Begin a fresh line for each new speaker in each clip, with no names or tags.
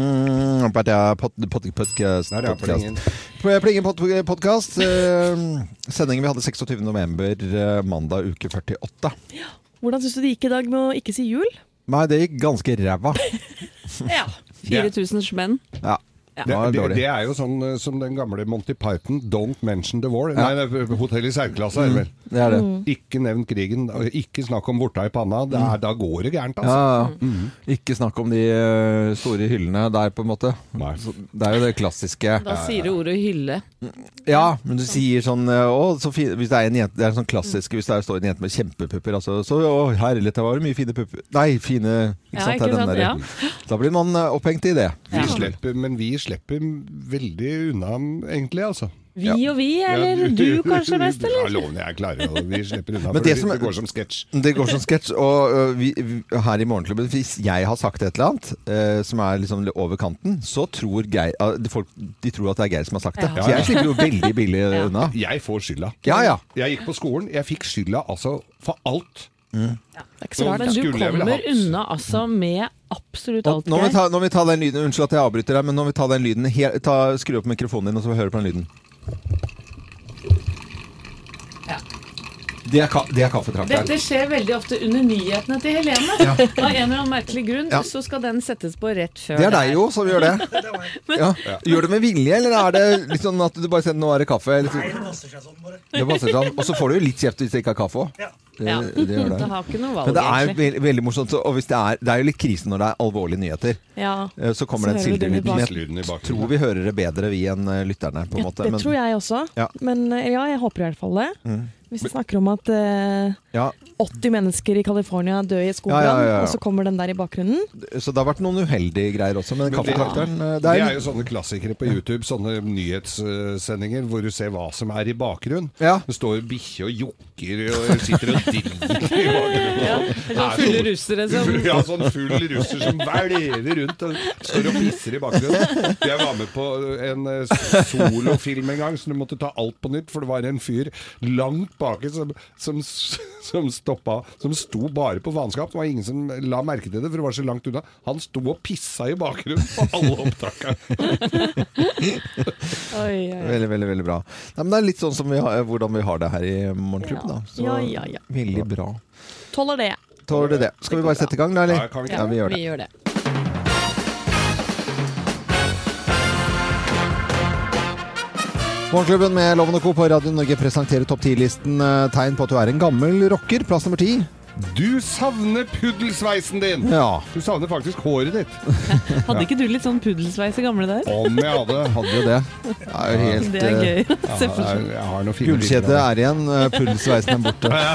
Plingen på det, Mm, pod- pod- podcast.
Der, ja, plingen.
På Plingen pod- podcast. eh, Sendingen vi hadde 26. november, eh, mandag uke 48.
Hvordan syns du det gikk i dag med å ikke si jul?
Nei, det gikk ganske ræva.
Ja.
4000 smenn.
Ja.
Det,
var
det,
dårlig.
det er jo sånn eh, som den gamle Monty Python, 'Don't mention the war'. Nei, det er Hotell i særklasse, er det vel.
Det er det.
Mm.
Ikke nevn krigen, og ikke snakk om vorta i panna. Det er, da går det gærent,
Ja,
altså.
ja. Ikke snakk om de eh, store hyllene der, på en måte.
Nei.
Så Det er jo det klassiske.
Da sier du ordet hylle.
Ja, men du sier sånn eh, å, så fin, Hvis det er en jente Det er sånn klassisk Hvis det er, står en jente med kjempepupper altså, Så å, herlighet, det var jo mye fine pupper Nei, fine Ikke
Ja,
sant? det er
ikke
den
sant,
der-
ja.
Da blir man eh, opphengt i det
Vi
Ja.
slipper, men vi slipper veldig unna, egentlig, altså.
Vi og vi, eller
Ja,
du kanskje mest,
Ja,
eller?
loven jeg klarer det. Vi slipper unna,
Men det
for det,
som-
det går som sketsj.
Det går som sketsj Og ø, vi, vi, her i morgenklubben Hvis jeg har sagt et eller annet eh, Som er liksom litt over kanten Så tror Geir eh, de, folk, de tror at det er Geir som har sagt det
Ja.
Så jeg slipper jo veldig billig unna
Jeg får skylda.
Ja, ja
Jeg gikk på skolen, jeg fikk skylda altså for alt.
Det er ikke så rart. Mm.
Men du
Skulle jeg vel
kommer
hatt.
unna altså med absolutt
Og
alt,
nå må, vi
Geir.
ta, nå må vi ta den lyden Unnskyld at jeg avbryter deg Men nå må vi ta den lyden he- ta, Skru opp mikrofonen din Og så får vi høre på den lyden Det er, ka det er kaffetrakteren
Dette skjer veldig ofte under nyhetene til Helene. Av en eller annen merkelig grunn,
Ja.
så skal den settes på rett før.
Det er
her.
deg jo som gjør det ja. Gjør du med vilje Eller er det litt sånn at du bare sier Nå er det kaffe eller så-
Nei, det passer seg sånn, bare.
Det passer sånn Og så får du jo litt kjeft hvis det ikke er kaffe også
Ja.
Ja.
det, det gjør
Det
det
har ikke noe
men
valg,
det er
egentlig.
veldig, veldig morsomt, og hvis det, er, det er jo litt krisen når det er alvorlige nyheter.
Ja.
Eh, Så kommer
Så
det en
hører vi den i
sildrelyd. men Jeg
Lyden i bakgrunnen.
tror vi hører det bedre vi enn eh, lytterne, på en måte.
det
men-
tror jeg også.
Ja. Mm.
Men eh, ja, jeg håper i hvert fall det. Hvis vi snakker om at eh,
Ja,
80 mennesker i California dør i skogbrann,
Ja, ja, ja, ja.
og så kommer den der i bakgrunnen.
Så det har vært noen uheldige greier også, men
Men det-
kaffetrakteren eh,
Det
der
er jo sånne klassikere på YouTube, sånne nyhetssendinger hvor du ser hva som er i bakgrunnen.
Ja.
Det står bikkje og jokker og sitter og driter i bakgrunnen.
Sånn fulle russere som
Full- Ja, sånn full russer som velger rundt og står og pisser i bakgrunnen. Jeg var med på en eh, solofilm en gang, så du måtte ta alt på nytt, for det var en fyr langt baki som, som, s- som stoppa Som sto bare på vanskap. Det var ingen som la merke til det, for det var så langt unna. Han sto og pissa i bakgrunnen på alle opptakene.
Oi, oi, oi.
Veldig, veldig veldig bra. Nei, men det er litt sånn som vi har, hvordan vi har det her i Morgenklubben, da. Så
Ja, ja, ja.
veldig bra.
Tåler det.
Tåler du det? Skal vi bare sette i gang, da, eller?
Ja, kan vi ikke?
ja, vi gjør det.
Vi gjør det.
Morgenklubben med Loven og Co. på Radio Norge presenterer topp 10-listen eh, tegn på at du er en gammel rocker. Plass nummer ti.
Du savner puddelsveisen din!
Ja.
Du savner faktisk håret ditt.
Hadde ikke du litt sånn puddelsveis i gamle dager?
Om jeg hadde
Hadde jo det. Det er jo helt
Det er
eh,
gøy.
ja,
Se
jeg,
for seg.
jeg har noen fine
Gullkjedet
bilder av det.
er igjen, eh, pulsveisen er borte.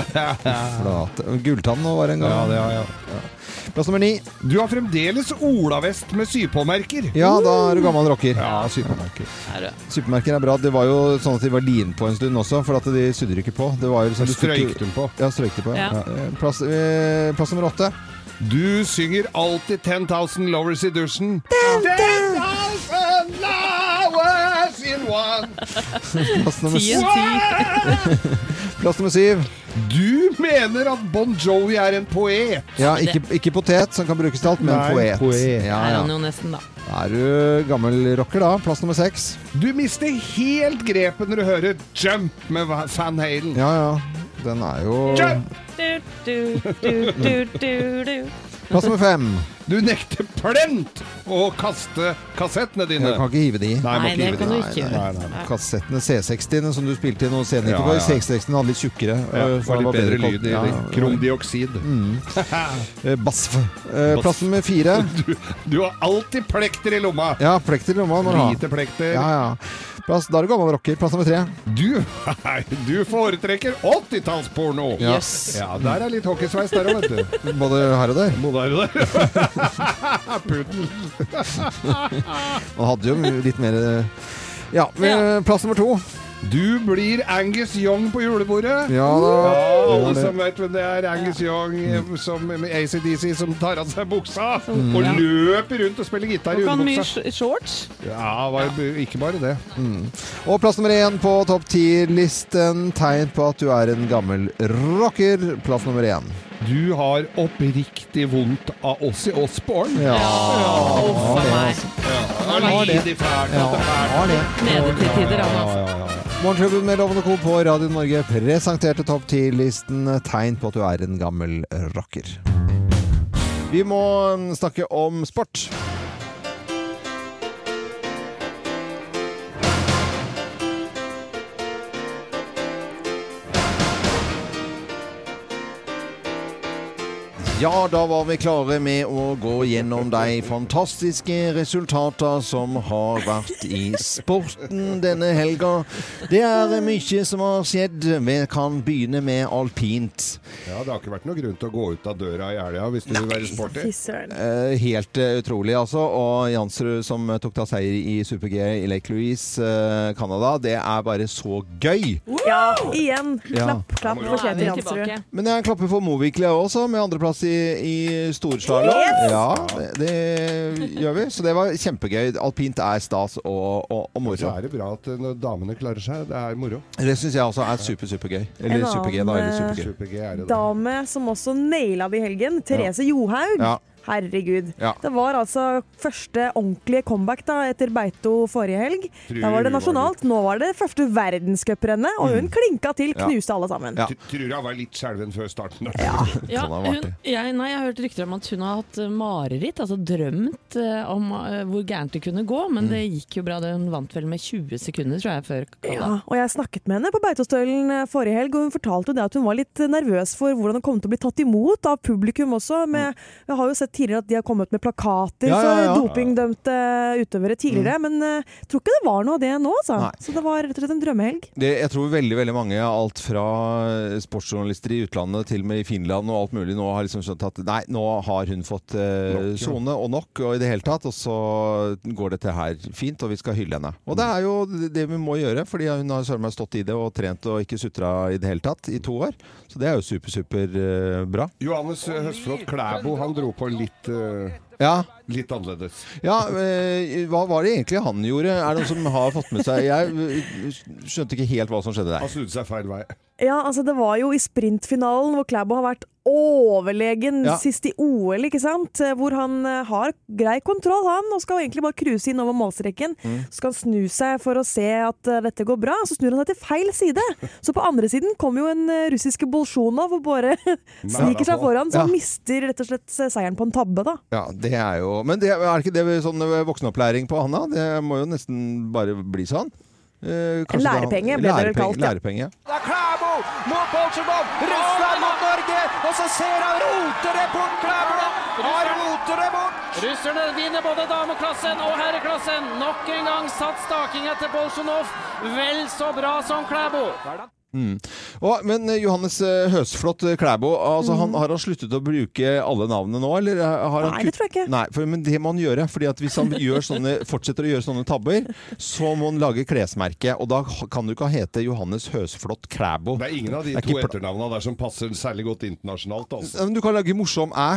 Flate. Gulltann nå var det en
Ja,
gang.
det har jeg.
Plass nummer ni.
Du har fremdeles olavest med sypåmerker.
Ja, da er du gammel rocker.
Ja, sypåmerker.
Er det.
Supermerker er bra. Det var jo sånn at de var linpå en stund også, for at de sydde ikke på. Det var jo liksom,
Så strøyk de på.
Ja, strøyk de på. Ja.
Ja.
Eh, Plass, eh, plass nummer åtte.
Du synger alltid 10,000 lovers i dusjen. 10,000 lovers in one.
Plass nummer,
Ti en ti.
s- plass nummer syv.
Du mener at Bon Jovi er en poet.
Ja, ikke, ikke potet, som kan brukes til alt, men
Nei,
poet.
poet.
Ja,
Er
ja.
han jo nesten, da.
Er du gammel rocker, da? Plass nummer seks.
Du mister helt grepet når du hører 'Jump' med Va- Van Halen.
Ja, ja. Den er jo
Jump!
Du, du, du, du, du, du.
Plass nummer fem.
Du nekter plent å kaste kassettene
Du
dine.
kan ikke hive de.
Nei, må
Nei,
ikke
det
hive
kan
de.
du ikke gjøre.
Nei, nei, nei.
Kassettene C60-ene som du spilte i noen scener
Ja,
på.
ja.
C60-ene hadde litt tjukkere.
Ja,
øh,
det
for
var
den
litt bedre
kalt-
lyd i
Ja,
det.
ja. Mm.
Kromdioksid.
Eh, Basf. Eh,
Basf.
Plass nummer fire.
Du, du har alltid plekter i lomma.
Ja, plekter i lomma. må du ha.
Lite plekter.
Ja, ja. Plass, da er du gammel rocker. Plass nummer tre.
Du, nei, du foretrekker 80-tallsporno!
Ja.
Jøss.
Ja, der er litt hockeysveis der òg, vet du.
Både her og der.
Må der og der. Putin.
Man hadde jo litt mer eh, Ja, men,
Ja.
eh, plass nummer to.
Du blir Angus Young på julebordet.
Ja
Ja,
da.
alle som vet hvem det er. Angus Young eh, som, med ACDC som tar av seg buksa og
Ja.
løper rundt og spiller gitar i
Kan han mye
underbuksa.
sh- shorts?
Ja, var, ikke bare det.
Mm. Og plass nummer én på topp ti-listen. Tegn på at du er en gammel rocker. Plass nummer én.
Du har oppriktig vondt av oss i Osborne.
Ja.
Uff a meg.
Han har det. Det er fælt,
Ja,
det er fælt.
har det.
Nede til tider, han altså.
Ja, ja, ja.
Morgenklubben med Lovende Co. på Radio Norge presenterte topp 10-listen tegn på at du er en gammel rocker. Vi må mm, snakke om sport. Ja, da var vi klare med å gå gjennom de fantastiske resultater som har vært i sporten denne helga. Det er mye som har skjedd. Vi kan begynne med alpint.
Ja, det har ikke vært noen grunn til å gå ut av døra i helga hvis du vil være sporty.
Fy søren.
Eh, Helt eh, utrolig, altså. Og Jansrud som eh, tok da seier i super-G i Lake Louise, eh, Canada. Det er bare så gøy!
Ja, igjen.
Ja.
Klapp, klapp
Nå
for
er
Kjetil
vi
Jansrud.
tilbake.
Men jeg klapper for Mowickle også, med andreplass i, i storslalåm. Ja, det, det gjør vi. Så det var kjempegøy. Alpint er stas og, og, og
Så
moro.
er det bra at eh, når damene klarer seg. Det er moro.
Det syns jeg også er super, supergøy.
En
Eller
annen,
super-G, da. Eller
eh,
super-G.
Super-G er det. da.
Dame som også naila det i helgen. Therese Johaug.
Ja.
Herregud.
Ja.
Det var altså første ordentlige comeback da, etter Beito forrige helg.
Tror
Da var det
hun var
nasjonalt. Nå var det første verdenscuprennet, og hun klinka til,
Ja.
knuste alle sammen.
Ja.
Tr- Tror jeg var litt skjelven før starten.
Ja,
Kan ha vært
hun,
det.
jeg, nei, jeg har hørt rykter om at hun har hatt eh, mareritt, altså drømt eh, om eh, hvor gærent det kunne gå, men det gikk jo bra. det Hun vant vel med 20 sekunder, tror jeg, før
Ja,
Kalla.
og jeg snakket med henne på Beitostølen eh, forrige helg, og hun fortalte jo det at hun var litt eh, nervøs for hvordan hun kom til å bli tatt imot av publikum også. Med, jeg har jo sett tidligere at de har kommet med plakater
Mm. Ja, ja, ja. Mm.
for dopingdømte utøvere tidligere, men eh, jeg tror ikke det var noe av det nå, altså.
Nei.
Så det var rett og slett en drømmehelg.
Det, jeg tror veldig veldig mange, alt fra eh, sportsjournalister i utlandet til og med i Finland og alt mulig, nå har liksom skjønt at nei, nå har hun fått eh,
Nok, ja.
sone og nok og i det hele tatt, og så går dette her fint, og vi skal hylle henne. Og det er jo det vi må gjøre, fordi hun har søren meg stått i det og trent og ikke sutra i det hele tatt i to år. Så det er jo super, super eh, bra.
Johannes eh, Høstflot Klæbo han dro på litt, eh,
Ja,
litt annerledes.
ja eh, hva var det egentlig han gjorde? Er det noen som har fått med seg Jeg eh, skjønte ikke helt hva som skjedde der.
Han snudde seg feil vei.
Ja, altså det var jo i sprintfinalen hvor Klæbo har vært overlegen
Ja.
sist i OL, ikke sant? Hvor han eh, har grei kontroll, han, og skal egentlig bare cruise inn over målstreken.
Mm.
Så skal han snu seg for å se at eh, dette går bra, så snur han seg til feil side. Så på andre siden kommer jo en eh, russiske Bolsjunov og bare sniker seg foran, så
altså. Ja.
han mister rett og slett eh, seieren på en tabbe, da.
Ja, det er jo Men det er det ikke det vi- sånn voksenopplæring på Hanna? Det må jo nesten bare bli sånn. Eh, kanskje
Lærepenge
det
ble
er
det vel kalt, ja.
Lærepenge.
Det er Klæbo mot Bolsjunov! Russland mot Norge! Og så ser han roter det bort, Klæbo! Han roter det bort!
Russerne vinner både dameklassen og herreklassen. Nok en gang satt staking etter Bolsjunov. Vel så bra som Klæbo.
Og, men eh, Johannes eh, Høsflot eh, Klæbo, altså, han, har han sluttet å bruke alle navnene nå? Eller eh, har han
Mm. Nei, det
kutt-
tror jeg ikke.
Nei, for, men det må han gjøre. fordi at hvis han gjør sånne, fortsetter å gjøre sånne tabber, så må han lage klesmerke. Og da kan du ikke hete Johannes Høsflot Klæbo.
Det er ingen av de
Det er
to
ikke pla-
etternavna der som passer særlig godt internasjonalt. Altså.
Ja, Men du kan lage morsom æ.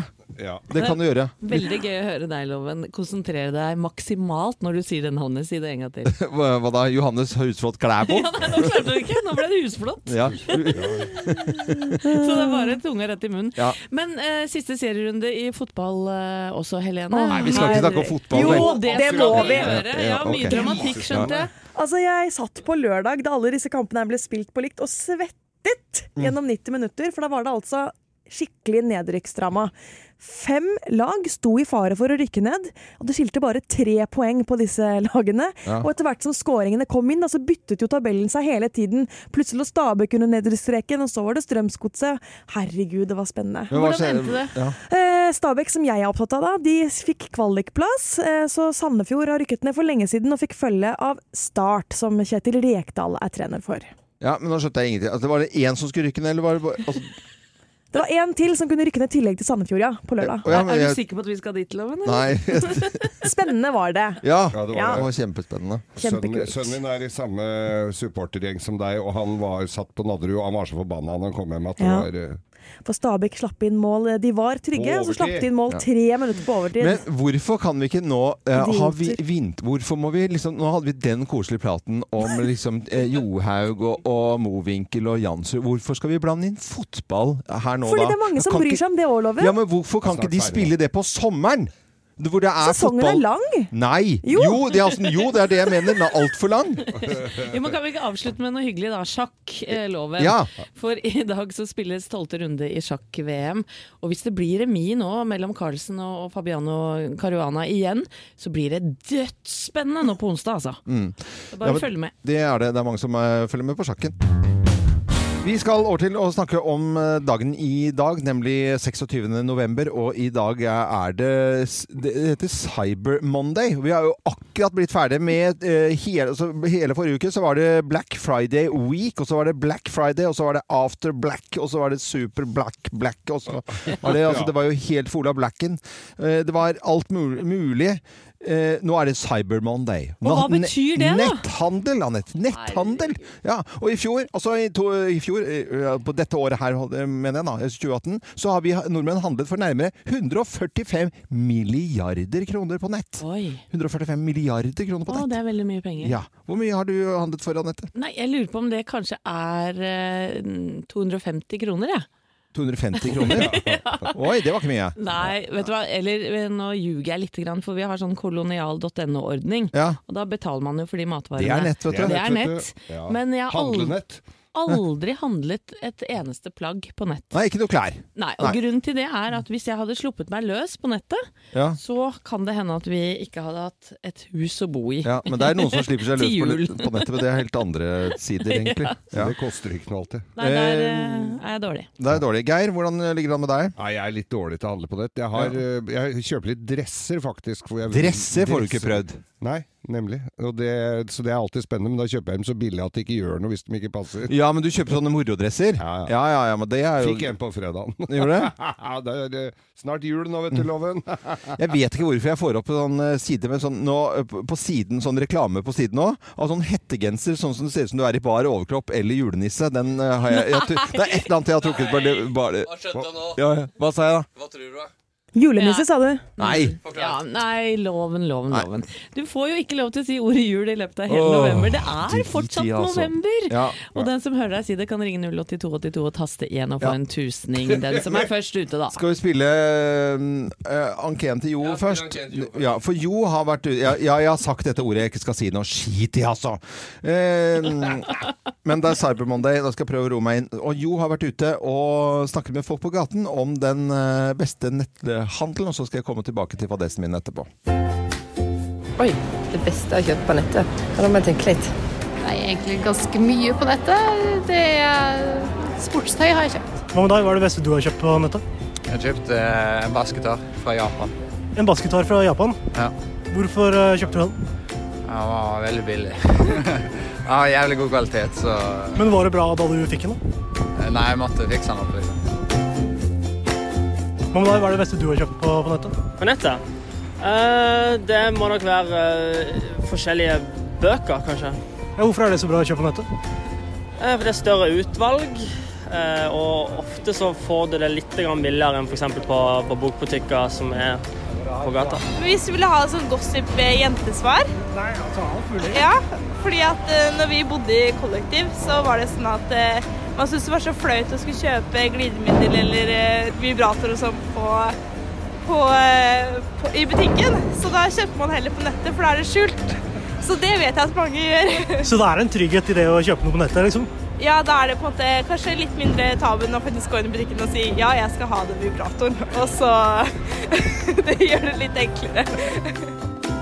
Ja.
Det kan du gjøre.
Veldig gøy å høre deg, Loven. Konsentrere deg maksimalt når du sier den navnet. Si det en gang til.
Hva hva da? Johannes Høsflot Klæbo?
Ja, nei, nå klarte du ikke. Nå ble det husflott.
Ja.
Så det er bare tunga rett i munnen.
Ja.
Men eh, siste serierunde i fotball eh, også, Helene.
Å,
Nei, vi skal ikke snakke om fotball.
Jo,
vel?
det må vi.
gjøre. Ja,
Ja,
mye
ok.
dramatikk, skjønte jeg.
Altså, jeg satt på lørdag da alle disse kampene her ble spilt på likt, og svettet
Mm.
gjennom 90 minutter, for da var det altså skikkelig nedrykksdrama. Fem lag sto i fare for å rykke ned, og det skilte bare tre poeng på disse lagene.
Ja.
Og etter hvert som skåringene kom inn, da, så byttet jo tabellen seg hele tiden. Plutselig lå Stabæk under nedrykksstreken, og så var det Strømsgodset. Herregud, det var spennende.
Men hva
Hvordan
skjer-
endte det?
Ja.
Eh, Stabæk, som jeg er opptatt av, da, de fikk kvalikplass. Eh, så Sandefjord har rykket ned for lenge siden og fikk følge av Start, som Kjetil Rekdal er trener for. Det
Ja, men nå skjønte jeg ingenting. Altså, var det én som skulle rykke ned, eller var det bare altså,
var én til som kunne rykke ned i tillegg til Sandefjord, ja, på lørdag.
å, ja, men
Er du
jeg,
sikker på at vi skal dit, Loven? eller?
Nei.
Spennende var det.
Ja.
Ja, det var
Det
det.
var kjempespennende.
Sønnen,
Kjempekult.
sønnen min er i samme supportergjeng som deg, og han var satt på Nadderud, og han var så forbanna da han kom hjem at det
Ja.
var eh,
For Stabæk slapp inn mål. De var trygge,
På
og så slapp
overtid.
de inn mål
Ja.
tre minutter på overtid.
Men hvorfor kan vi ikke nå eh, ha vi,
Vinter.
vint, Hvorfor må vi liksom Nå hadde vi den koselige praten om liksom eh, Johaug og, og Mowinckel og Jansrud. Hvorfor skal vi blande inn fotball her nå,
Fordi
da?
det er mange som
Kan
bryr
ikke-
seg om det òg, Loven.
Ja, men hvorfor kan
Snart
ikke de
ferdig.
spille det på sommeren? Hvor det er
Sesongen
fotball.
er lang.
Nei! Jo,
Jo.
det, er, altså- jo, det er det jeg mener. Den er altfor lang.
Jo, men kan vi ikke avslutte med noe hyggelig, da? Sjakk, eh, loven.
Ja.
For i dag så spilles tolvte runde i sjakk-VM. Og hvis det blir remis nå mellom Carlsen og Fabiano Caruana igjen, så blir det dødsspennende nå på onsdag, altså. Så
Mm. Ja,
Bare
men-
følg med.
Det er det. Det er mange som eh, følger med på sjakken. Vi skal over til å snakke om eh, dagen i dag, nemlig 26. november. Og i dag er det Det heter Cyber Monday. Vi har jo akkurat blitt ferdig med eh, hele, altså, hele forrige uke så var det Black Friday Week, og så var det Black Friday, og så var det After Black, og så var det Super Black Black, og så var det altså, Det var jo helt fola blacken. Eh, Det var alt mul- mulig. Eh, Nå er det Cyber Monday.
Og hva
Nat-
betyr det, da?
Netthandel, Anette. Netthandel! Ja, og i fjor, altså i, to, i fjor, eh, på dette året her, eh, mener jeg da, 2018, så har vi ha- nordmenn handlet for nærmere 145 milliarder kroner på nett.
Oi.
145 milliarder kroner på
Å,
nett.
det er veldig mye penger.
Ja. Hvor mye har du handlet for, Anette?
Nei, jeg lurer på om det kanskje er eh, 250 kroner, jeg.
250 kroner? Oi, det var ikke mye.
Nei, vet du hva. Eller eh, nå ljuger jeg litt, grann, for vi har sånn kolonial.no-ordning.
Ja,
Og da betaler man jo for de
det
matvarene.
er nett, vet
Det er
du.
nett.
vet du. Ja.
Men jeg har aldri,
Handlenett.
aldri handlet et eneste plagg på nett.
Nei, ikke noe klær.
Nei, og
Nei.
grunnen til det er at hvis jeg hadde sluppet meg løs på nettet,
Ja.
så kan det hende at vi ikke hadde hatt et hus å bo i.
Ja, men det er noen som slipper seg løs på,
Til jul.
litt- på nettet, men det er helt andre sider, egentlig. Ja.
Det koster ikke noe alltid.
Nei, der eh,
Eh,
er jeg dårlig.
Det er dårlig. Geir, hvordan ligger det an med deg?
Nei, jeg er litt dårlig til å handle på nett. Jeg, har, eh, jeg kjøper litt dresser, faktisk. hvor jeg-
Dresser får du ikke
Dresser.
prøvd.
Nei, nemlig. Og det, så det er alltid spennende, men da kjøper jeg dem så billig at de ikke gjør noe hvis de ikke passer.
Ja, men du kjøper sånne morodresser?
Ja, ja.
ja, ja, ja men det er jo
Fikk en på fredagen.
Gjorde det?
det er eh, snart jul nå, vet du, Loven.
Jeg vet ikke hvorfor jeg får opp en sånn eh, side med sånn, nå, eh, på- på siden, sånn reklame på siden òg, av sånn hettegenser sånn som det ser ut som du er i bar overkropp eller julenisse. Den eh, har jeg, jeg tru- Det er et eller annet jeg har trukket bare, bare
Hva skjønte jeg nå?
ja, ja. Hva sa jeg da?
Hva tror du? da?
Julenisse,
Ja.
sa du.
Nei!
Ja, nei, loven, loven,
Nei.
loven. Du får jo ikke lov til å si ordet jul i løpet av hele
Åh,
november. Det
drit
er
i,
fortsatt
altså.
november!
Ja.
Og den som hører deg si det, kan ringe 08282 og taste 1 og få
Ja.
en tusning. Den som er først ute, da.
Skal vi spille uh, Anken til Jo
Ja, spille
først?
Anken til Jo først.
Ja, for Jo har vært u- ja, ja, jeg har sagt dette ordet jeg ikke skal si noe skit i, altså. Eh, men det er Cyber Monday, da skal jeg prøve å roe meg inn. Og Jo har vært ute og snakket med folk på gaten om den eh, beste netthandelen, og så skal jeg komme tilbake til fadesen min etterpå.
Oi, det beste jeg har kjøpt på nettet. Ja, Da må jeg tenke litt.
Nei, egentlig ganske mye på nettet. Det er sportstøy har jeg kjøpt.
Hva med deg, hva er det beste du har kjøpt på nettet?
Jeg kjøpte eh, en bassgitar fra Japan.
En bassgitar fra Japan.
Ja.
Hvorfor eh, kjøpte du den?
Den var veldig billig. Av jævlig god kvalitet, så eh,
Men var det bra da du fikk den? da?
Nei, jeg måtte fikse den opp. liksom.
Hva med deg, hva er det beste du har kjøpt på, på nettet?
På nettet? Eh, det må nok være eh, forskjellige bøker, kanskje.
Ja, hvorfor er det så bra å kjøpe på nettet?
Eh, for det er større utvalg, eh, og ofte så får du det litt grann billigere enn f.eks. På, på bokbutikker som er på gata.
Hvis du ville ha sånn gossip-jentesvar
Nei, altså alt mulig.
Ja, fordi at eh, når vi bodde i kollektiv, så var det sånn at eh, man syntes det var så flaut å skulle kjøpe glidemiddel eller eh, vibrator og sånn på, på, eh, på, i butikken. Så da kjøper man heller på nettet, for da er det skjult. Så det vet jeg at mange gjør.
Så det er en trygghet i det å kjøpe noe på nettet, liksom?
Ja, da er det på en måte kanskje litt mindre tabu enn å faktisk gå inn i butikken og si ja, jeg skal ha den vibratoren. Og så Det gjør det litt enklere.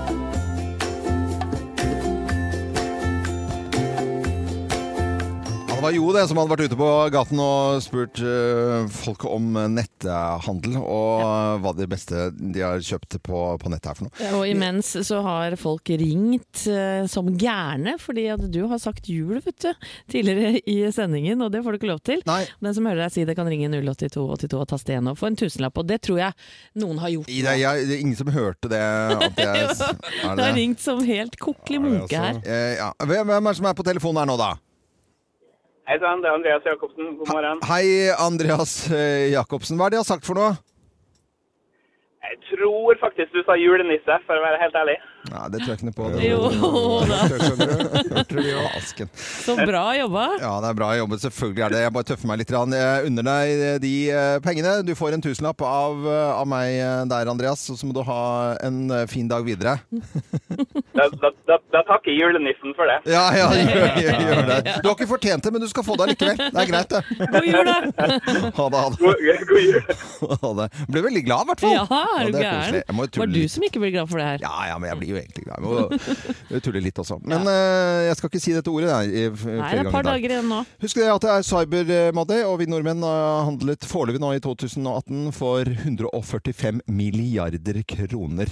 Ja, det var Jo det som hadde vært ute på gaten og spurt eh, folk om netthandel, og eh, hva det beste de har kjøpt på, på nettet er for noe.
Og imens så har folk ringt eh, som gærne, fordi at du har sagt jul vet du, tidligere i sendingen, og det får du ikke lov til.
Nei.
Den som hører deg si det, kan ringe 08282 og taste 1 og få en tusenlapp, og det tror jeg noen har gjort.
I det, jeg, det er ingen som hørte det. At jeg, er
Du har ringt som helt kokelig
Er det
munke her.
altså?
Eh, ja. hvem, hvem er det som er på telefonen her nå, da?
Hei sann, det er Andreas Jacobsen. God morgen.
Hei, Andreas eh, Jacobsen. Hva er det jeg har sagt for noe?
Jeg tror faktisk du sa julenisse, for å være helt ærlig.
Nei, det tror jeg ikke noe på.
Jo da.
Det skjønner du. Asken.
Så bra jobba.
Ja, det er bra jobbet. Selvfølgelig er det. Jeg bare tøffer meg litt. grann. Jeg unner deg de eh, pengene. Du får en tusenlapp av, eh, av meg eh, der, Andreas. Og så må du ha en eh, fin dag videre.
Da, da, da, da takker julenissen for det.
Ja, ja, gjør, gjør, gjør det. Du har ikke fortjent det, men du skal få det likevel. Det er greit, det.
God jul, da.
Ha det, ha det. God jul. Ha det. Ble veldig glad, i hvert fall.
Ja, er du
det
gæren?
koselig. Jeg må jo
Var
tulle
du
litt.
som ikke ble glad for det her?
Ja, ja, men jeg blir jo egentlig glad. Jeg må tulle litt også. Men eh, jeg skal ikke si dette ordet der, i, f- flere
Nei, det er et
ganger i
par
dag.
dager igjen nå.
Husk det at det er Cyber Monday, og vi nordmenn har handlet foreløpig nå i 2018 for 145 milliarder kroner.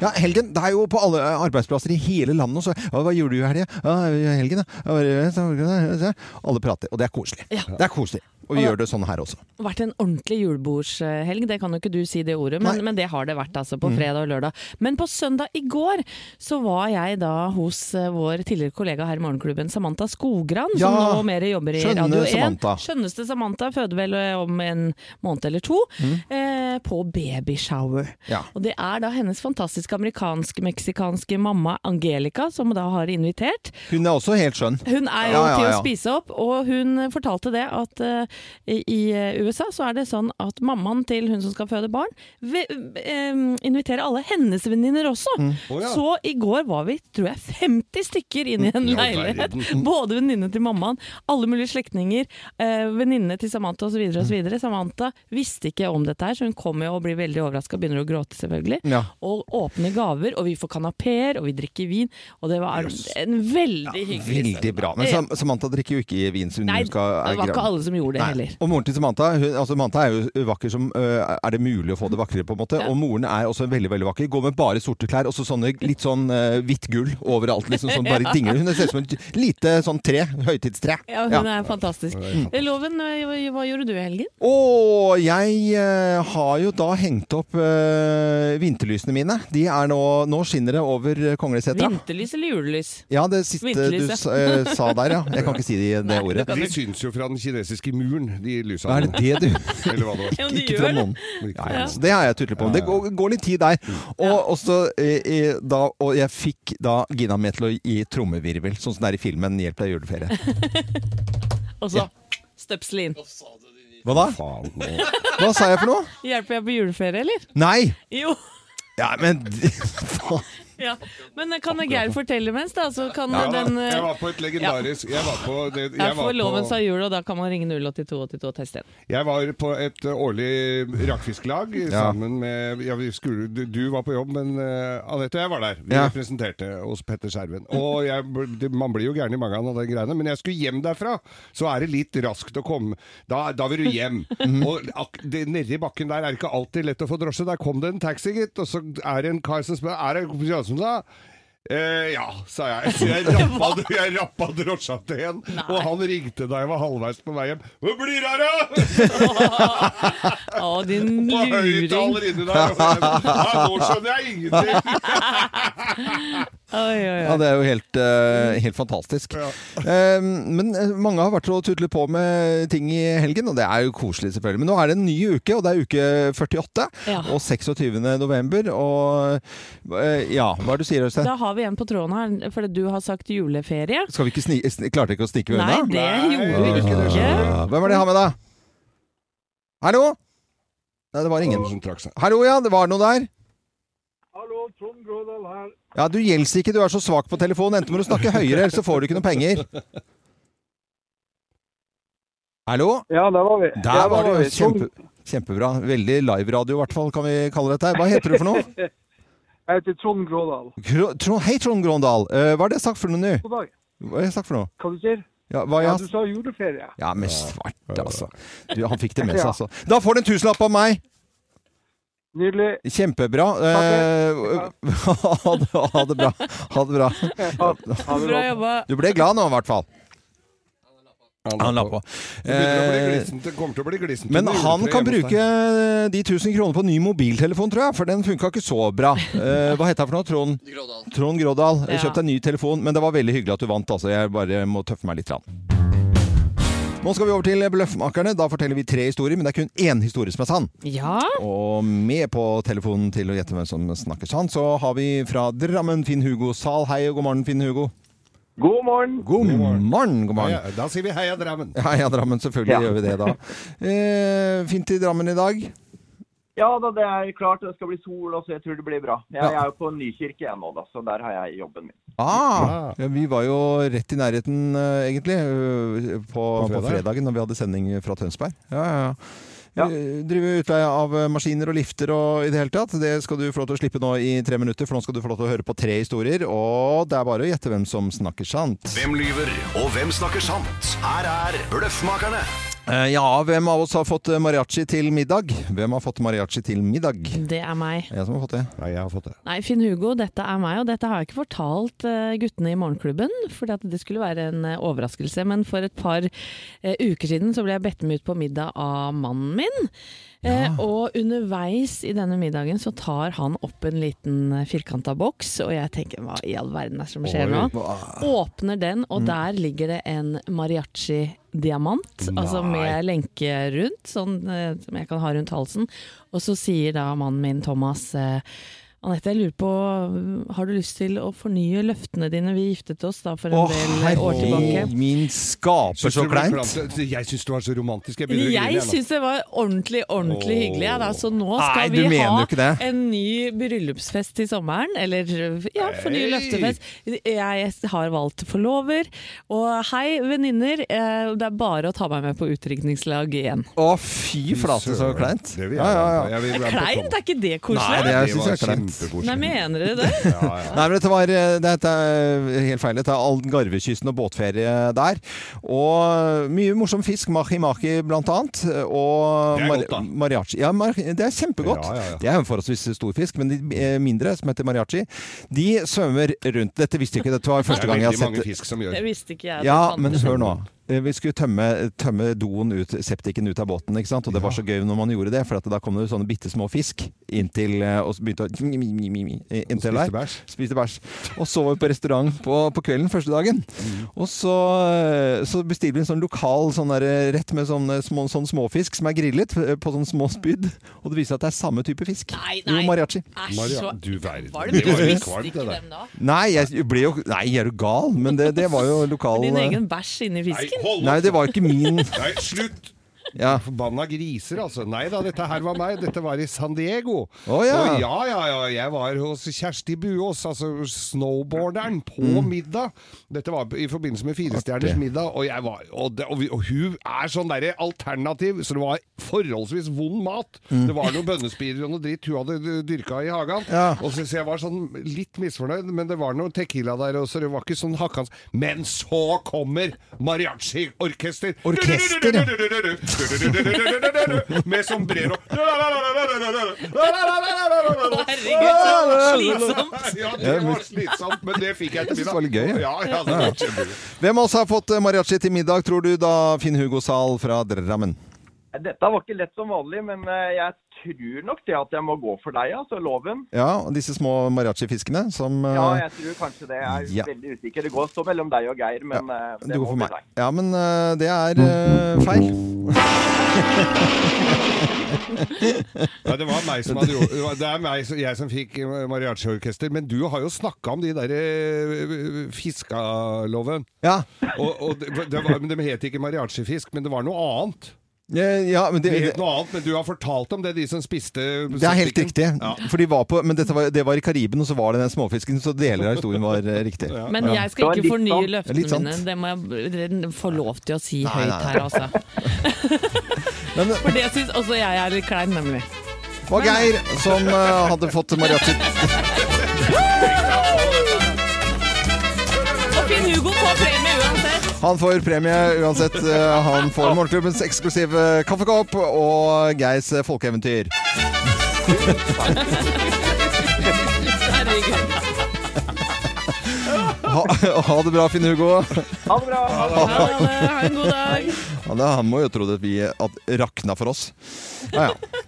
Ja, helgen. Det er jo på alle eh, arbeidsplasser i hele landet. Så, «Å, hva gjorde du i helgen? Ja, i helgen, ja. Ja, hva gjorde du?» Alle prater, og det er koselig. Det er koselig. Og vi gjør det sånn her også.
vært en ordentlig julebordshelg, det kan jo ikke du si det ordet, men, men det har det vært altså på
Mm.
fredag og lørdag. Men på søndag i går så var jeg da hos eh, vår tidligere kollega her i Morgenklubben, Samantha Skogran, som
Ja,
nå mer jobber i
skjønne
Radio 1.
Samantha.
Skjønneste Samantha, føder vel eh, om en måned eller to,
Mm.
eh, på babyshower.
Ja.
Og det er da hennes fantastiske amerikansk-meksikanske mamma Angelica som da har invitert.
Hun er også helt skjønn.
Hun er jo
Ja, ja,
til å
ja.
spise opp, og hun fortalte det at eh, i i, eh, USA så er det sånn at mammaen til hun som skal føde barn, ve- eh, inviterer alle hennes venninner også.
Mm.
Å, ja.
Så i går var vi, tror jeg, 50 stykker inn i
Mm.
en
Ja,
leilighet.
verden.
Både venninnene til mammaen, alle mulige slektninger, eh, venninnene til Samantha osv.
Mm.
videre. Samantha visste ikke om dette her, så hun kommer jo og blir veldig overraska og begynner å gråte, selvfølgelig.
Ja.
Og åpner gaver, og vi får kanapeer, og vi drikker vin, og det var en veldig hyggelig
Veldig bra. Men Sam Samantha drikker jo ikke vin. så hun
Liksom. Nei,
skal,
det var ikke alle som gjorde det heller.
Og moren til Samantha hun, altså Samantha er jo vakker som øh, Er det mulig å få det vakrere, på en måte?
Ja.
Og moren er også veldig veldig vakker. Går med bare sorte klær og så sånne litt sånn øh, hvitt gull overalt. liksom sånn bare
Ja.
dingler. Hun ser ut som et lite sånn tre. Høytidstre.
Ja, hun er fantastisk. Loven, hva- hva gjorde du i helgen?
Og jeg eh, har jo da hengt opp eh, vinterlysene mine. De er nå, nå skinner det over Konglesetra.
Vinterlys eller julelys?
Ja, det siste du
Vinterlyset.
sa, eh, sa der, ja. Jeg kan ikke si det, det ordet.
De syns jo fra den kinesiske muren, de lysa.
Hva er det det du
Eller hva det var.
Ja, men de Ikke fra gjør det. månen. Nei, altså, det har jeg tutlet på. Men det går, går litt tid der. Og, og så, eh, eh, da, og jeg fikk da Gina med til å gi trommevirvel, sånn som det er i filmen 'Hjelp deg juleferie'.
Og så støpsel inn.
Hva da? Hva sa jeg for noe?
Hjelper jeg på juleferie, eller?
Nei!
Jo.
Ja, men faen.
Ja. Men eh, kan Geir fortelle mens, da? Så kan
Ja, da.
den eh,
jeg var på et legendarisk Jeg var på, det,
Der
jeg var
får loven
på,
sa jul, og da kan man ringe 08282 og teste igjen.
jeg var på et eh, årlig rakfisklag eh, sammen med ja, vi skulle, du, du var på jobb, men eh, Anette og jeg var der. Vi
Ja.
representerte hos Petter Skjerven. Og jeg, bl- det, man blir jo gæren i magen av de greiene, men jeg skulle hjem derfra. Så er det litt raskt å komme. Da, da vil du hjem. og ak, det, nedi bakken der er det ikke alltid lett å få drosje. Der kom det en taxi, gitt, og så er det en kar som spør Er det Kristiansen, da? Eh, ja, sa jeg. Så jeg rappa, jeg rappa drosja til en, og han ringte da jeg var halvveis på vei hjem. Hvor blir det her, da?!
Å, din
På
luring.
høyttaler inni der. og jeg bare, Ja, nå skjønner jeg ingenting!
Oi, oi,
Ja,
oi.
det er jo helt, eh, helt fantastisk. Eh, men eh, mange har vært og tutlet på med ting i helgen, og det er jo koselig selvfølgelig. Men nå er det en ny uke, og det er uke 48
Ja.
og 26. november. Og eh, ja, hva er det du sier, Øystein?
Da har vi en på tråden her, fordi du har sagt juleferie.
Skal vi ikke sni sni klarte ikke å snike vi
Nei,
unna?
det gjorde vi ikke. det skjønner du.
Hvem er det jeg har med deg? Hallo? Nei, det var ingen. Hallo, ja, det var noe der.
Hallo, Trond Grådal her.
Ja, du gjelder ikke, du er så svak på telefonen. Enten må du snakke høyere, eller så får du ikke noen penger. Hallo?
Ja, der var vi.
Der
Ja,
var det jo
Trond-
kjempe, kjempebra. Veldig live-radio i hvert fall, kan vi kalle dette. her. Hva heter du for noe?
Jeg heter Trond Grådal.
Kro, Trond, hei, Trond Grondal. Eh, hva er det jeg har sagt for noe nå?
God dag.
Hva har jeg sagt for noe?
Hva du sier
Ja, hva
Ja,
jeg
du
har...
sa juleferie.
ja men svarte, altså. Du, han fikk det med seg, altså. Da får du en tusenlapp av meg!
Nydelig.
Kjempebra. Eh, ha, det, ha det bra. Ha det bra.
Ha det bra.
Du ble glad nå, i hvert fall. Han la på.
Det begynner å bli
Eh,
glissent. Det kommer til å bli glissent.
Men
under
han
juletreet
kan
hjemme hos
bruke
deg.
de 1000 kronene på ny mobiltelefon, tror jeg, for den funka ikke så bra. Eh, hva het det for noe? Trond Grådal. Trond Grådal.
Ja.
Kjøpt deg ny telefon, men det var veldig hyggelig at du vant, altså. Jeg bare må tøffe meg litt. Rann. Nå skal vi over til Bløffmakerne. Da forteller vi tre historier, men det er kun én historie som er sann.
Ja.
Og med på telefonen til å gjette hvem som snakker sann, så har vi fra Drammen Finn-Hugo Sal. Hei og god morgen, Finn-Hugo.
God morgen.
God morgen. God morgen.
Ja, ja, da sier vi heia Drammen.
Heia Drammen, selvfølgelig
Ja.
gjør vi det da. Eh, fint i Drammen i dag.
Ja da, det er klart det skal bli sol, og så jeg tror det blir bra. Jeg,
Ja.
jeg er jo på Nykirke jeg nå, da, så der har jeg jobben min.
Ah, ja, vi var jo rett i nærheten, eh, egentlig, eh, på, på,
fredag.
fredagen når vi hadde sending fra Tønsberg. Ja, ja, ja. Eh, Driver utleie av eh, maskiner og lifter og i det hele tatt. Det skal du få lov til å slippe nå i tre minutter, for nå skal du få lov til å høre på tre historier. Og det er bare å gjette hvem som snakker sant.
Hvem lyver, og hvem snakker sant? Her er Bløffmakerne.
Eh, Ja, hvem av oss har fått eh, mariachi til middag? Hvem har fått mariachi til middag?
Det er meg.
Jeg som har fått det. Nei, jeg har fått det.
Nei, Finn-Hugo, dette er meg, og dette har jeg ikke fortalt eh, guttene i morgenklubben, fordi at det skulle være en eh, overraskelse. Men for et par eh, uker siden så ble jeg bedt med ut på middag av mannen min. Eh, Og underveis i denne middagen så tar han opp en liten eh, firkanta boks, og jeg tenker hva i all verden er det som skjer
Oi,
nå?
hva-
Åpner den, og
Mm.
der ligger det en mariachi-diamant, altså med lenke rundt, sånn eh, som jeg kan ha rundt halsen. Og så sier da mannen min, Thomas, eh, Anette, jeg lurer på, mm, har du lyst til å fornye løftene dine? Vi giftet oss da for en
Å,
del eh, år tilbake.
herregud, min skaper
Syns
så
du det ble
kleint!
klamt? Jeg syns det var så romantisk. Jeg begynner å grine.
Jeg
igjen, da.
syns det var ordentlig ordentlig
Åh.
hyggelig. Ja, da. Så nå
Nei,
skal
du
vi
mener jo
ha
ikke det.
en ny bryllupsfest til sommeren. Eller ja, for ny
Hei.
løftefest. Jeg har valgt forlover. Og hei, venninner. eh, Det er bare å ta meg med på utdrikningslag igjen.
Å, fy flate, så kleint!
Det vil jeg
Ja, ja, ja.
være med på. Jeg vil være med på
Kleint, er ikke det
Nei, det
koselig?
er-
Det
synes
var
jeg er kleint.
kjempekoselig.
Nei, mener dere det?
Nei, men dette var eh, dette er helt feil. Dette er Algarvekysten og båtferie der. Og mye morsom fisk, mahi-mahi blant annet. Og
Det er
mar-
godt, da.
mariachi. Ja, mar det er kjempegodt. Det er jo en forholdsvis stor fisk, men de eh, mindre, som heter mariachi, de svømmer rundt. Dette visste jeg ikke, dette var
Det
første
er
gang jeg har
veldig
sett
mange fisk som gjør
Det visste ikke jeg. at
ja,
det fantes.
men hør nå. Eh, Vi skulle tømme, tømme doen ut, septiken ut av båten, ikke sant? og det var så gøy når man gjorde det, for at da kom det sånne bitte små fisk inntil eh, og så begynte å eh, inntil
spiste
der. Spiste bæsj. Og så var vi på restaurant på, på kvelden første dagen, og så, eh, så bestilte vi en sånn lokal sånn der, eh, rett med sånne små, sånn småfisk som er grillet eh, på sånne små spyd, og det viser seg at det er samme type fisk.
Nei,
Jo,
nei.
mariachi.
Æsj, så-
Du verden.
Var
det
Det var jo
mye
kvalmt, det der.
Nei, jeg ble jo Nei, er du gal? Men det, det var jo lokal eh,
Din egen bæsj inni fisken?
Nei, det var ikke min.
Nei, slutt!
Ja.
Forbanna griser, altså. Nei da, dette her var meg. Dette var i San Diego.
Å, ja.
Og ja, ja, ja. Jeg var hos Kjersti Buås, altså snowboarderen, på middag. Dette var i forbindelse med Firestjerners
Mm. Artig.
middag, og, jeg var, og, det, og, vi, og hun er sånn derre alternativ, så det var forholdsvis vond mat.
Mm.
Det var noen bønnespirer og noe dritt hun hadde dyrka i hagen. Og så, så jeg var sånn litt misfornøyd, men det var noe tequila der også, det var ikke sånn hakkans. Men så kommer mariachi-orkester!
Orkester,
ja! Med sombrero.
Herregud, så slitsomt.
Ja, det var slitsomt, men det fikk jeg til
Jeg synes det var litt gøy, jeg.
Ja, ja, det
Ja.
var kjempegøy.
Hvem av oss har fått eh, mariachi til middag, tror du da, Finn-Hugo Zahl fra Drammen?
Dette var ikke lett som vanlig, men eh, jeg tror nok det at jeg må gå for deg, altså loven.
Ja, og disse små mariachi-fiskene som eh,
Ja, jeg tror kanskje det. Jeg er
Ja.
veldig usikker. Det går så mellom deg og Geir, men eh,
du
det
går
må
for
bli
meg.
deg.
Ja, men eh, det er eh, feil.
Ja, det var meg som hadde gjort det. var- Det er meg som, jeg som fikk mariachi-orkester. Men du har jo snakka om de der eh, fiskaloven.
Ja.
Og, og det, det var, men de het ikke mariachi-fisk, men det var noe annet.
Eh, Ja, men
Det
det,
het noe annet, men du har fortalt om det, de som spiste
det er helt
septiken.
riktig.
Ja.
For de var på, men dette var, det var i Kariben, og så var det den småfisken, så deler av historien var eh, riktig.
Men
Ja.
jeg skal ikke fornye
Litt
løftene
sant.
mine. Det må jeg dere få lov til å si
Nei,
høyt
nei, nei.
her, altså. For det syns også jeg er litt klein, nemlig.
Det var Geir som eh, hadde fått mariachi.
Og Finn-Hugo får premie uansett.
Han får premie uansett. eh, Han får Morgenklubbens eksklusive kaffekopp og Geirs eh, folkeeventyr.
Herregud.
Ha, ha det bra, Finn Hugo.
Ha det bra.
Ha det. Ha det.
Ha en god dag.
Ja, det han må jo tro at vi at rakna for oss. Ja, ja.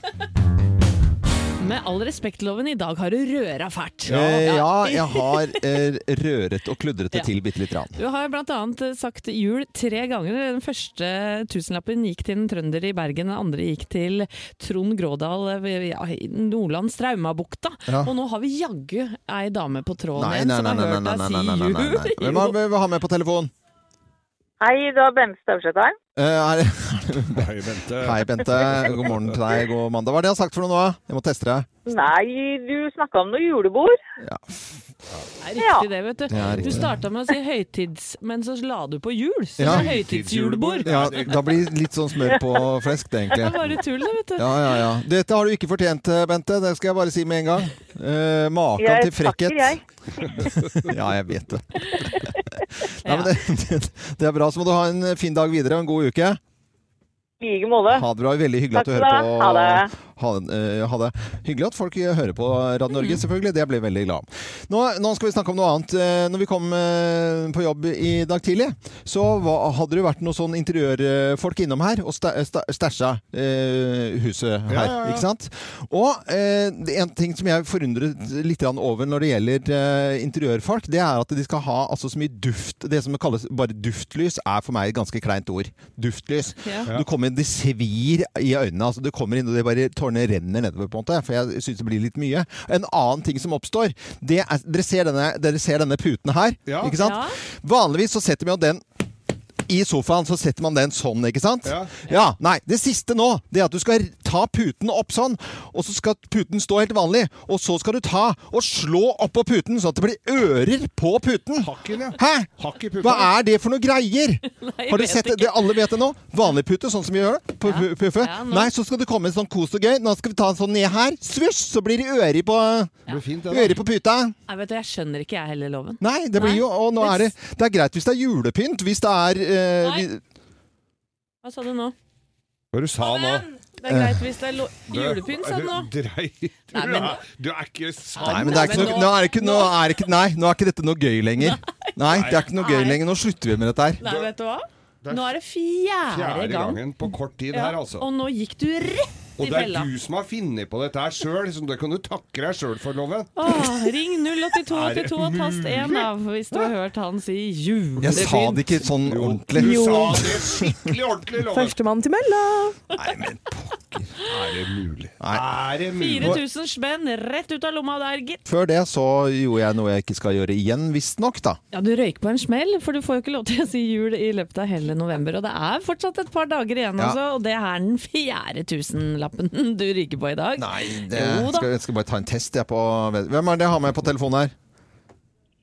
Med all respektloven, i dag har du røra fælt.
Eh, ja jeg har eh, røret og kludret det
Ja.
til bitte lite grann.
Du har bl.a. sagt jul tre ganger. Den første tusenlappen gikk til en trønder i Bergen, den andre gikk til Trond Grådal eh, ved- ja, i Nordlands Traumabukta.
Ja.
Og nå har vi jaggu ei dame på tråden
Nei,
igjen
nei,
som
nei.
har
nei,
hørt
nei,
deg
nei, nei, nei, nei, nei.
si jul.
Hvem har vi har med på telefon?
Hei, det var Bente Støvseth her.
Eh, er, Hei,
eh,
Bente. Hei, Bente. God morgen til deg. God mandag. Hva er det jeg har sagt for noe nå? Jeg må teste det.
Nei, du snakka om noe julebord.
Det er riktig det, vet du.
Det er riktig.
Du starta med å si høytids, men så la du på Altså jul. Så
Ja.
det er høytidsjulebord.
Ja, da blir det litt sånn smør på flesk, det,
Det er
egentlig.
bare tull, det, vet du.
Ja, ja, ja. Dette har du ikke fortjent, eh, Bente. Det skal jeg bare si med en gang. Eh, maken til frekkhet. ja, jeg vet det. Nei, men det, det, det er bra. Så må du ha en fin dag videre og en god uke.
I like måte.
Ha det bra. Veldig hyggelig at du
Takk
hører
skal
på.
du ha. Ha det.
Ha det, eh, ha det. Hyggelig at folk hører på Radio Norge,
Mm.
selvfølgelig. Det blir jeg veldig glad om. Nå, nå skal vi snakke om noe annet. Eh, Når vi kom eh, på jobb i dag tidlig, så var, hadde det vært noen sånn interiørfolk innom her og sta- sta- stæsja eh, huset her.
Ja, ja, ja.
Ikke sant? Og eh, det er en ting som jeg forundret litt grann over når det gjelder eh, interiørfolk, det er at de skal ha altså, så mye duft. Det som kalles bare duftlys, er for meg et ganske kleint ord. Duftlys.
Ja.
Du kommer inn, det svir i øynene. Altså, du kommer inn, og det bare tårene renner nedover, på en måte. For jeg syns det blir litt mye. En annen ting som oppstår, det er Dere ser denne, dere ser denne puten her,
Ja.
ikke sant?
Ja.
Vanligvis så setter vi jo den i sofaen så setter man den sånn, ikke sant? Ja. Nei, det siste nå, det er at du skal ta puten opp sånn, og så skal puten stå helt vanlig, og så skal du ta og slå opp på puten, sånn at det blir ører på puten.
Hakken, ja.
Hæ?
Hakk i puta.
Hva er det for noe greier?
jeg
Har du
vet
sett det?
ikke.
det? Alle vet det nå. Vanlig pute, sånn som vi gjør det. På pu- puffe.
Ja, nå-
Nei, så skal det komme en sånn kos og gøy. Nå skal vi ta en sånn ned her. Svusj, så blir det ører på, ører på puta.
Nei, vet du, jeg skjønner ikke jeg heller loven.
Nei, det blir jo Og nå er det Det er greit hvis det er julepynt. Hvis det er eh, vi,
Hva sa du nå?
Hva du sa nå?
Det er greit hvis det er lo- julepynt, sa du nå.
Du dreit
Nei, men-
Ja, Du er ikke sann.
Nei, men det er ikke noe, nå er det ikke, nå er det ikke, nei, nå er ikke dette noe gøy lenger. Nei, det er ikke noe gøy lenger. Nå slutter vi med dette her.
Nei, vet du hva?
det er
Nå er det fjerde,
Fjerde
gang.
gangen på kort tid
Ja,
her, altså.
Og nå gikk du rett
Og
i
det er
fella.
du som har funnet på dette her sjøl, så det kan du takke deg sjøl for, Loven.
Åh, ring 08282 og tast
Er
1
det
av hvis du har hørt han si julepynt.
Jeg sa det ikke sånn ordentlig.
du
sa
det skikkelig ordentlig,
Førstemann til mølla!
Er det mulig?
Nei.
Er det mulig?
4000 spenn rett ut av lomma der, gitt.
Før det så gjorde jeg noe jeg ikke skal gjøre igjen, visstnok, da.
Ja, du røyk på en smell, for du får jo ikke lov til å si jul i løpet av hele november. Og det er fortsatt et par dager igjen,
Ja.
altså, og det er den fjerde tusenlappen du ryker på i dag.
Nei, Det,
Jo da.
skal, jeg skal bare ta en test jeg på Hvem er det jeg har med på telefonen her?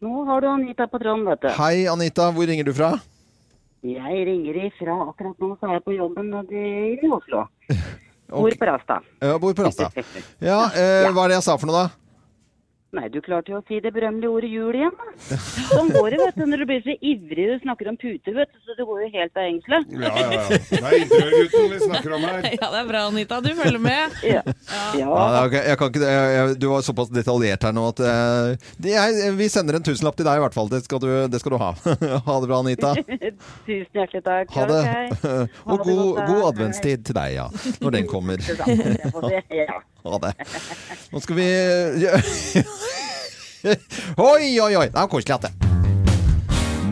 Nå har du Anita på tråden, vet du.
Hei, Anita. Hvor ringer du fra?
Jeg ringer ifra akkurat nå, så er jeg på jobben nede i Oslo. Bor på Rasta.
Jeg bor på Rasta. Ja, eh, hva er det jeg sa for noe, da?
Nei, du klarte jo å si det berømmelige ordet jul igjen, da. Sånn går det, vet du, når du blir så ivrig du snakker om puter, vet du, så du går jo helt av engselet.
Ja, ja, ja. Det er interiørgutten vi snakker om her.
Ja, det er bra, Anita. Du følger med.
Ja, ok, jeg kan ikke, jeg, jeg, du var såpass detaljert her nå at eh, det er, Vi sender en tusenlapp til deg i hvert fall. Det skal du, det skal du ha. ha det bra, Anita.
Tusen hjertelig takk.
Ha det.
Ok. Ha det
Og god,
godt, da.
god adventstid til deg, ja. Når den kommer.
Det samme, det får vi- ja.
Ha det. Nå skal vi Oi, oi, oi! Det er koselig at det.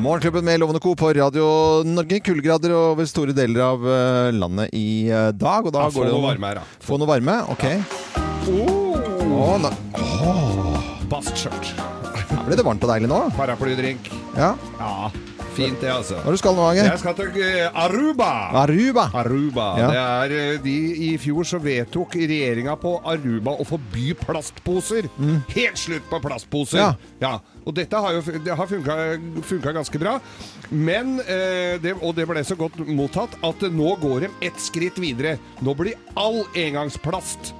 Morgenklubben med Lovende Co. på Radio Norge. Kuldegrader over store deler av eh, landet i eh, dag. Og da
Ja, få
går det
noe varme her, da.
Få noe varme? Ok.
Oh.
Å, nå- Åh.
Bastskjørt.
Her Ble det varmt og deilig nå?
Paraplydrink.
Ja.
Ja, fint det, altså.
Hva er det du skal nå, Hagen?
Jeg skal til eh, Aruba.
Aruba.
Aruba.
Ja.
Det er eh, de I fjor så vedtok regjeringa på Aruba å forby plastposer. Helt slutt på plastposer!
Mm. Ja.
Og dette har jo det har funka, funka ganske bra. Men, eh, det, og det ble så godt mottatt, at nå går de ett skritt videre. Nå blir all engangsplast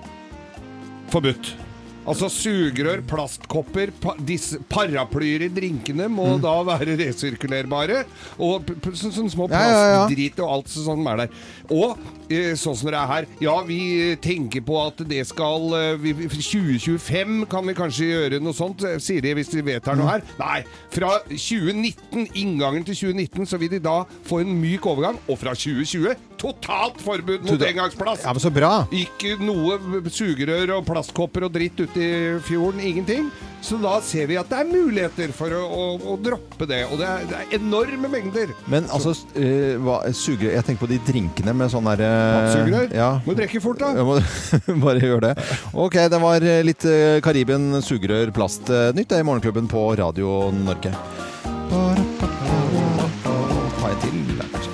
forbudt. Altså sugerør, plastkopper, pa disse paraplyer i drinkene må
Mm.
da være resirkulerbare. Og p- p- sånne små
Ja, ja, ja.
plastdrit og alt sånt som er der. Og eh, sånn som det er her Ja, vi eh, tenker på at det skal eh, vi, vi- 2025 kan vi kanskje gjøre noe sånt, eh, sier de hvis de vedtar noe her. Nei, fra 2019, inngangen til 2019, så vil de da få en myk overgang. Og fra 2020 totalt forbud mot
Total-
engangsplast!
Ja, men så bra.
Ikke noe sugerør og plastkopper og dritt ute i fjorden. Ingenting. Så da ser vi at det er muligheter for å, å, å droppe det. Og det er, det er enorme mengder.
Men altså, s- eh, hva, sugerør Jeg tenker på de drinkene med sånn derre
Pappsugerør?
Ja.
Må drikke fort, da.
Jeg må bare gjøre det. Ok, det var eh, litt eh, Karibien sugerør plast eh, nytt det er i Morgenklubben på Radio Norge. Ta en til. der, kanskje.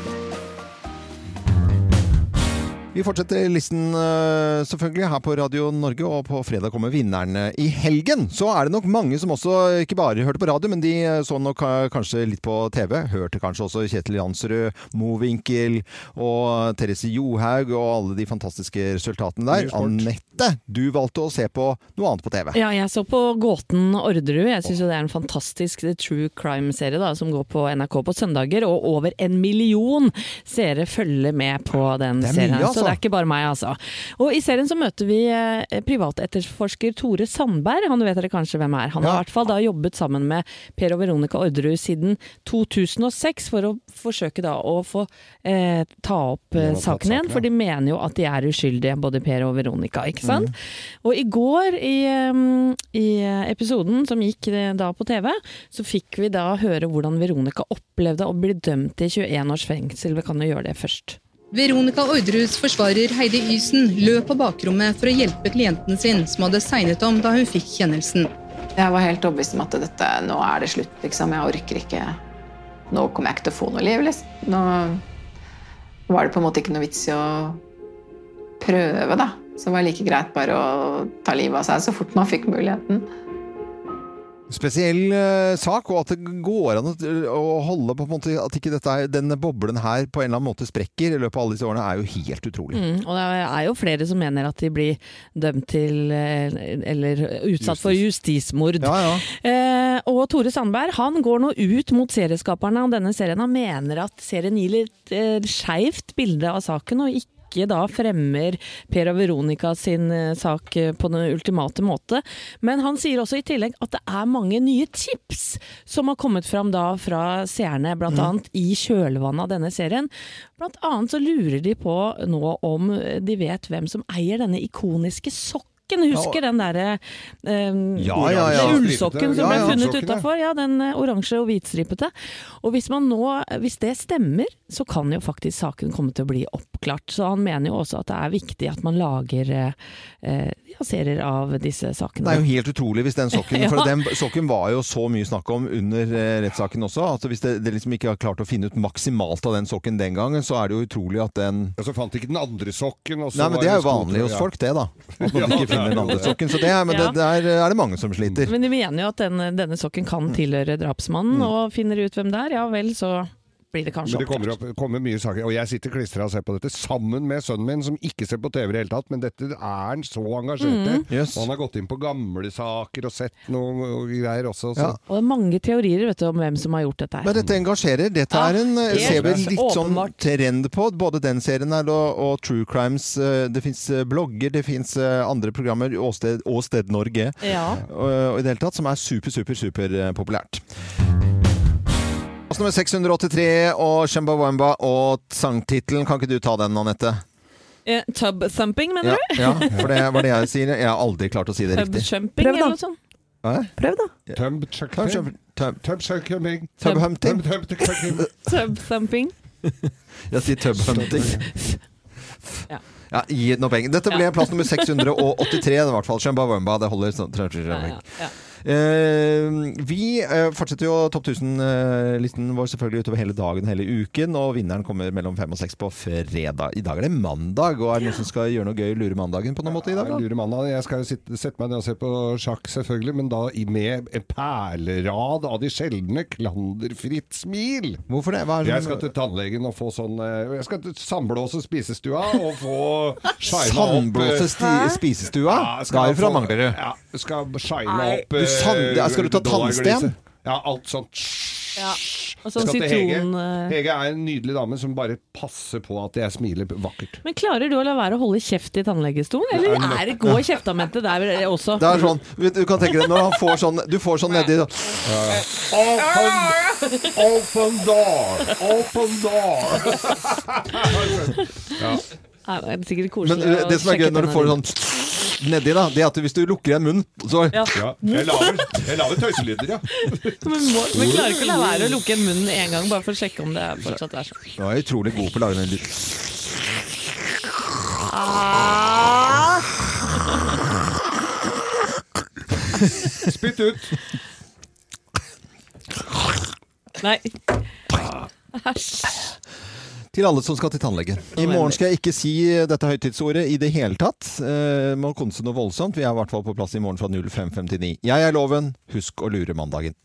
Vi fortsetter listen eh, selvfølgelig her på Radio Norge, og på fredag kommer vinnerne i helgen. Så er det nok mange som også ikke bare hørte på radio, men de eh, så nok eh, kanskje litt på TV. Hørte kanskje også Kjetil Jansrud, Mowinckel og Therese Johaug og alle de fantastiske resultatene der. Anette, du valgte å se på noe annet på TV.
Ja, jeg så på Gåten Orderud. Jeg syns jo det er en fantastisk eh, true crime-serie da, som går på NRK på søndager. Og over en million seere følger med på den
Det er
serien.
mye, altså.
Så det er ikke bare meg, altså. Og i serien så møter vi eh, privatetterforsker Tore Sandberg. Han vet dere kanskje hvem er. Han har i hvert fall da jobbet sammen med Per og Veronica Orderud siden 2006 for å forsøke da å få eh, ta opp eh, saken igjen. For de mener jo at de er uskyldige, både Per og Veronica. ikke sant? Og i går, i, um, i episoden som gikk eh, da på TV, så fikk vi da høre hvordan Veronica opplevde å bli dømt til 21 års fengsel. Vi kan jo gjøre det først.
Veronica Orderus forsvarer Heidi Ysen løp på bakrommet for å hjelpe klienten sin, som hadde segnet om da hun fikk kjennelsen.
Jeg var helt overbevist om at dette, nå er det slutt. Liksom. Jeg orker ikke. Nå kommer jeg ikke til å få noe liv. Liksom. Nå var det på en måte ikke noe vits i å prøve, da. Så det var like greit bare å ta livet av seg så fort man fikk muligheten.
spesiell eh, sak, og at det går an å, å holde på, på en måte at ikke dette er, denne boblen her på en eller annen måte sprekker i løpet av alle disse årene, er jo helt utrolig.
Mm, og det er jo flere som mener at de blir dømt til eh, eller utsatt for justismord. Eh, og Tore Sandberg han går nå ut mot serieskaperne av denne serien. Han mener at serien gir et eh, skeivt bilde av saken, og ikke da fremmer Per og Veronica sin eh, sak eh, på den ultimate måte. Men han sier også i tillegg at det er mange nye tips som har kommet fram da fra seerne, blant annet i kjølvannet av denne serien. Blant annet så lurer de på nå om de vet hvem som eier denne ikoniske sokken. Husker den derre eh,
Ja, ja, ja.
den Ullsokken som
Ja,
ble
ja,
funnet
ullsokken, ja.
utafor. Ja, den eh, oransje og hvitstripete. Og hvis, man nå, eh, hvis det stemmer, så kan jo faktisk saken komme til å bli oppklart. Så han mener jo også at det er viktig at man lager eh, eh, ja, serier av disse sakene.
Det er jo helt utrolig hvis den sokken
Ja.
For den sokken var jo så mye snakk om under eh, rettssaken også. at hvis det, det liksom ikke har klart å finne ut maksimalt av den sokken den gangen, så er det jo utrolig at den
Og så fant de ikke den andre sokken. Og så
Nei, men
var
det er jo
skotøy,
vanlig hos
ja.
folk, det, da. At man ikke
Ja, det er
finner den
jo
andre
det.
sokken. Så det er, men
Ja.
det, der er det mange som sliter.
Men de mener jo at den, eh, denne sokken
Mm.
kan tilhøre drapsmannen, og finner de ut hvem det er, ja vel, så blir det kanskje
Men det kommer,
oppklart.
opp, kommer mye saker, og jeg sitter klistra og ser på dette sammen med sønnen min, som ikke ser på TV i det hele tatt, men dette er han så engasjert i.
Mhm. Yes.
Og han har gått inn på gamle saker og sett noe og greier også. Så.
Og det er mange teorier vet du, om hvem som har gjort dette. her.
Men dette engasjerer. Dette
Ja,
er en, eh,
det
ser vi
er
litt sånn
åpenbart.
trend på. Både den serien her og, og True Crimes. eh, Det fins blogger, det fins andre programmer. Åsted, Åsted Norge.
Ja.
Og, og i det hele tatt, som er super, super, super eh, populært. Plass nummer 683 og Shemba Wamba og sangtittelen. Kan ikke du ta den, Anette?
Eh, tub thumping, mener
Ja,
du?
ja, for det var det jeg sier. Jeg har aldri klart å si det
Tub
riktig.
jumping
Prøv da.
eller noe sånt.
Prøv, da.
Tøm
Tøm- tøm-
Tømsøkjøming.
Tub hunting.
Tub thumping.
Jeg sier tub hunting.
Ja.
Ja, gi noe penger. Dette ble
Ja.
plass nummer 683, det er i hvert fall. Shemba Wemba, det holder. sånn- tror jeg- tror jeg-
ja.
Eh, vi eh, fortsetter jo topp 1000-listen vår selvfølgelig utover hele dagen hele uken, og vinneren kommer mellom fem og seks på fredag. I dag er det mandag, og er det noen som skal gjøre noe gøy lure mandagen på noen måte i dag?
Jeg
da?
lurer mandag. Jeg skal jo sitte, sette meg ned og se på sjakk, selvfølgelig, men da i- med en perlerad av de sjeldne klanderfritt smil.
Hvorfor det? Hva er det
jeg
som-
skal til tannlegen og få sånn eh, Jeg skal til sandblåse spisestua og få og shina opp eh,
Sandblåse sti- spisestua?
skal
Da er vi fra
få-
Manglerud.
Ja, skal shine
Nei.
opp eh,
Du sand- ja, skal du ta
dollargliset.
tannsten?
Ja, alt sånt.
Ja. Og sånn
Skal til Hege.
sitron... eh,
Hege er en nydelig dame som bare passer på at jeg smiler vakkert.
Men klarer du å la være å holde kjeft i tannlegestolen, eller
Nei,
er
men-
det gå i kjeftamentet der også?
Det er sånn, vet du du kan tenke deg når han får sånn Du får sånn nedi sånn.
Open, open door! Open door!
Nei, det er sikkert
Men
koselig
eh, det
å
som er gøy
sjekke
når du får
tennene
sånn nedi, da, det er at hvis du lukker igjen munnen, så
Ja.
Ja, jeg lager, jeg lager tøyselyder, ja.
dine. Men, må, men klarer ikke å la være å lukke munnen en gang, bare for å sjekke om det er fortsatt er sånn.
Du er utrolig god på å lage den lyden.
Spytt ut!
Nei. Æsj.
Til alle som skal til tannlegen. I morgen skal jeg ikke si dette høytidsordet i det hele tatt. Eh, må konse noe voldsomt. Vi er i hvert fall på plass i morgen fra 05.59. Jeg er Loven. Husk å lure mandagen.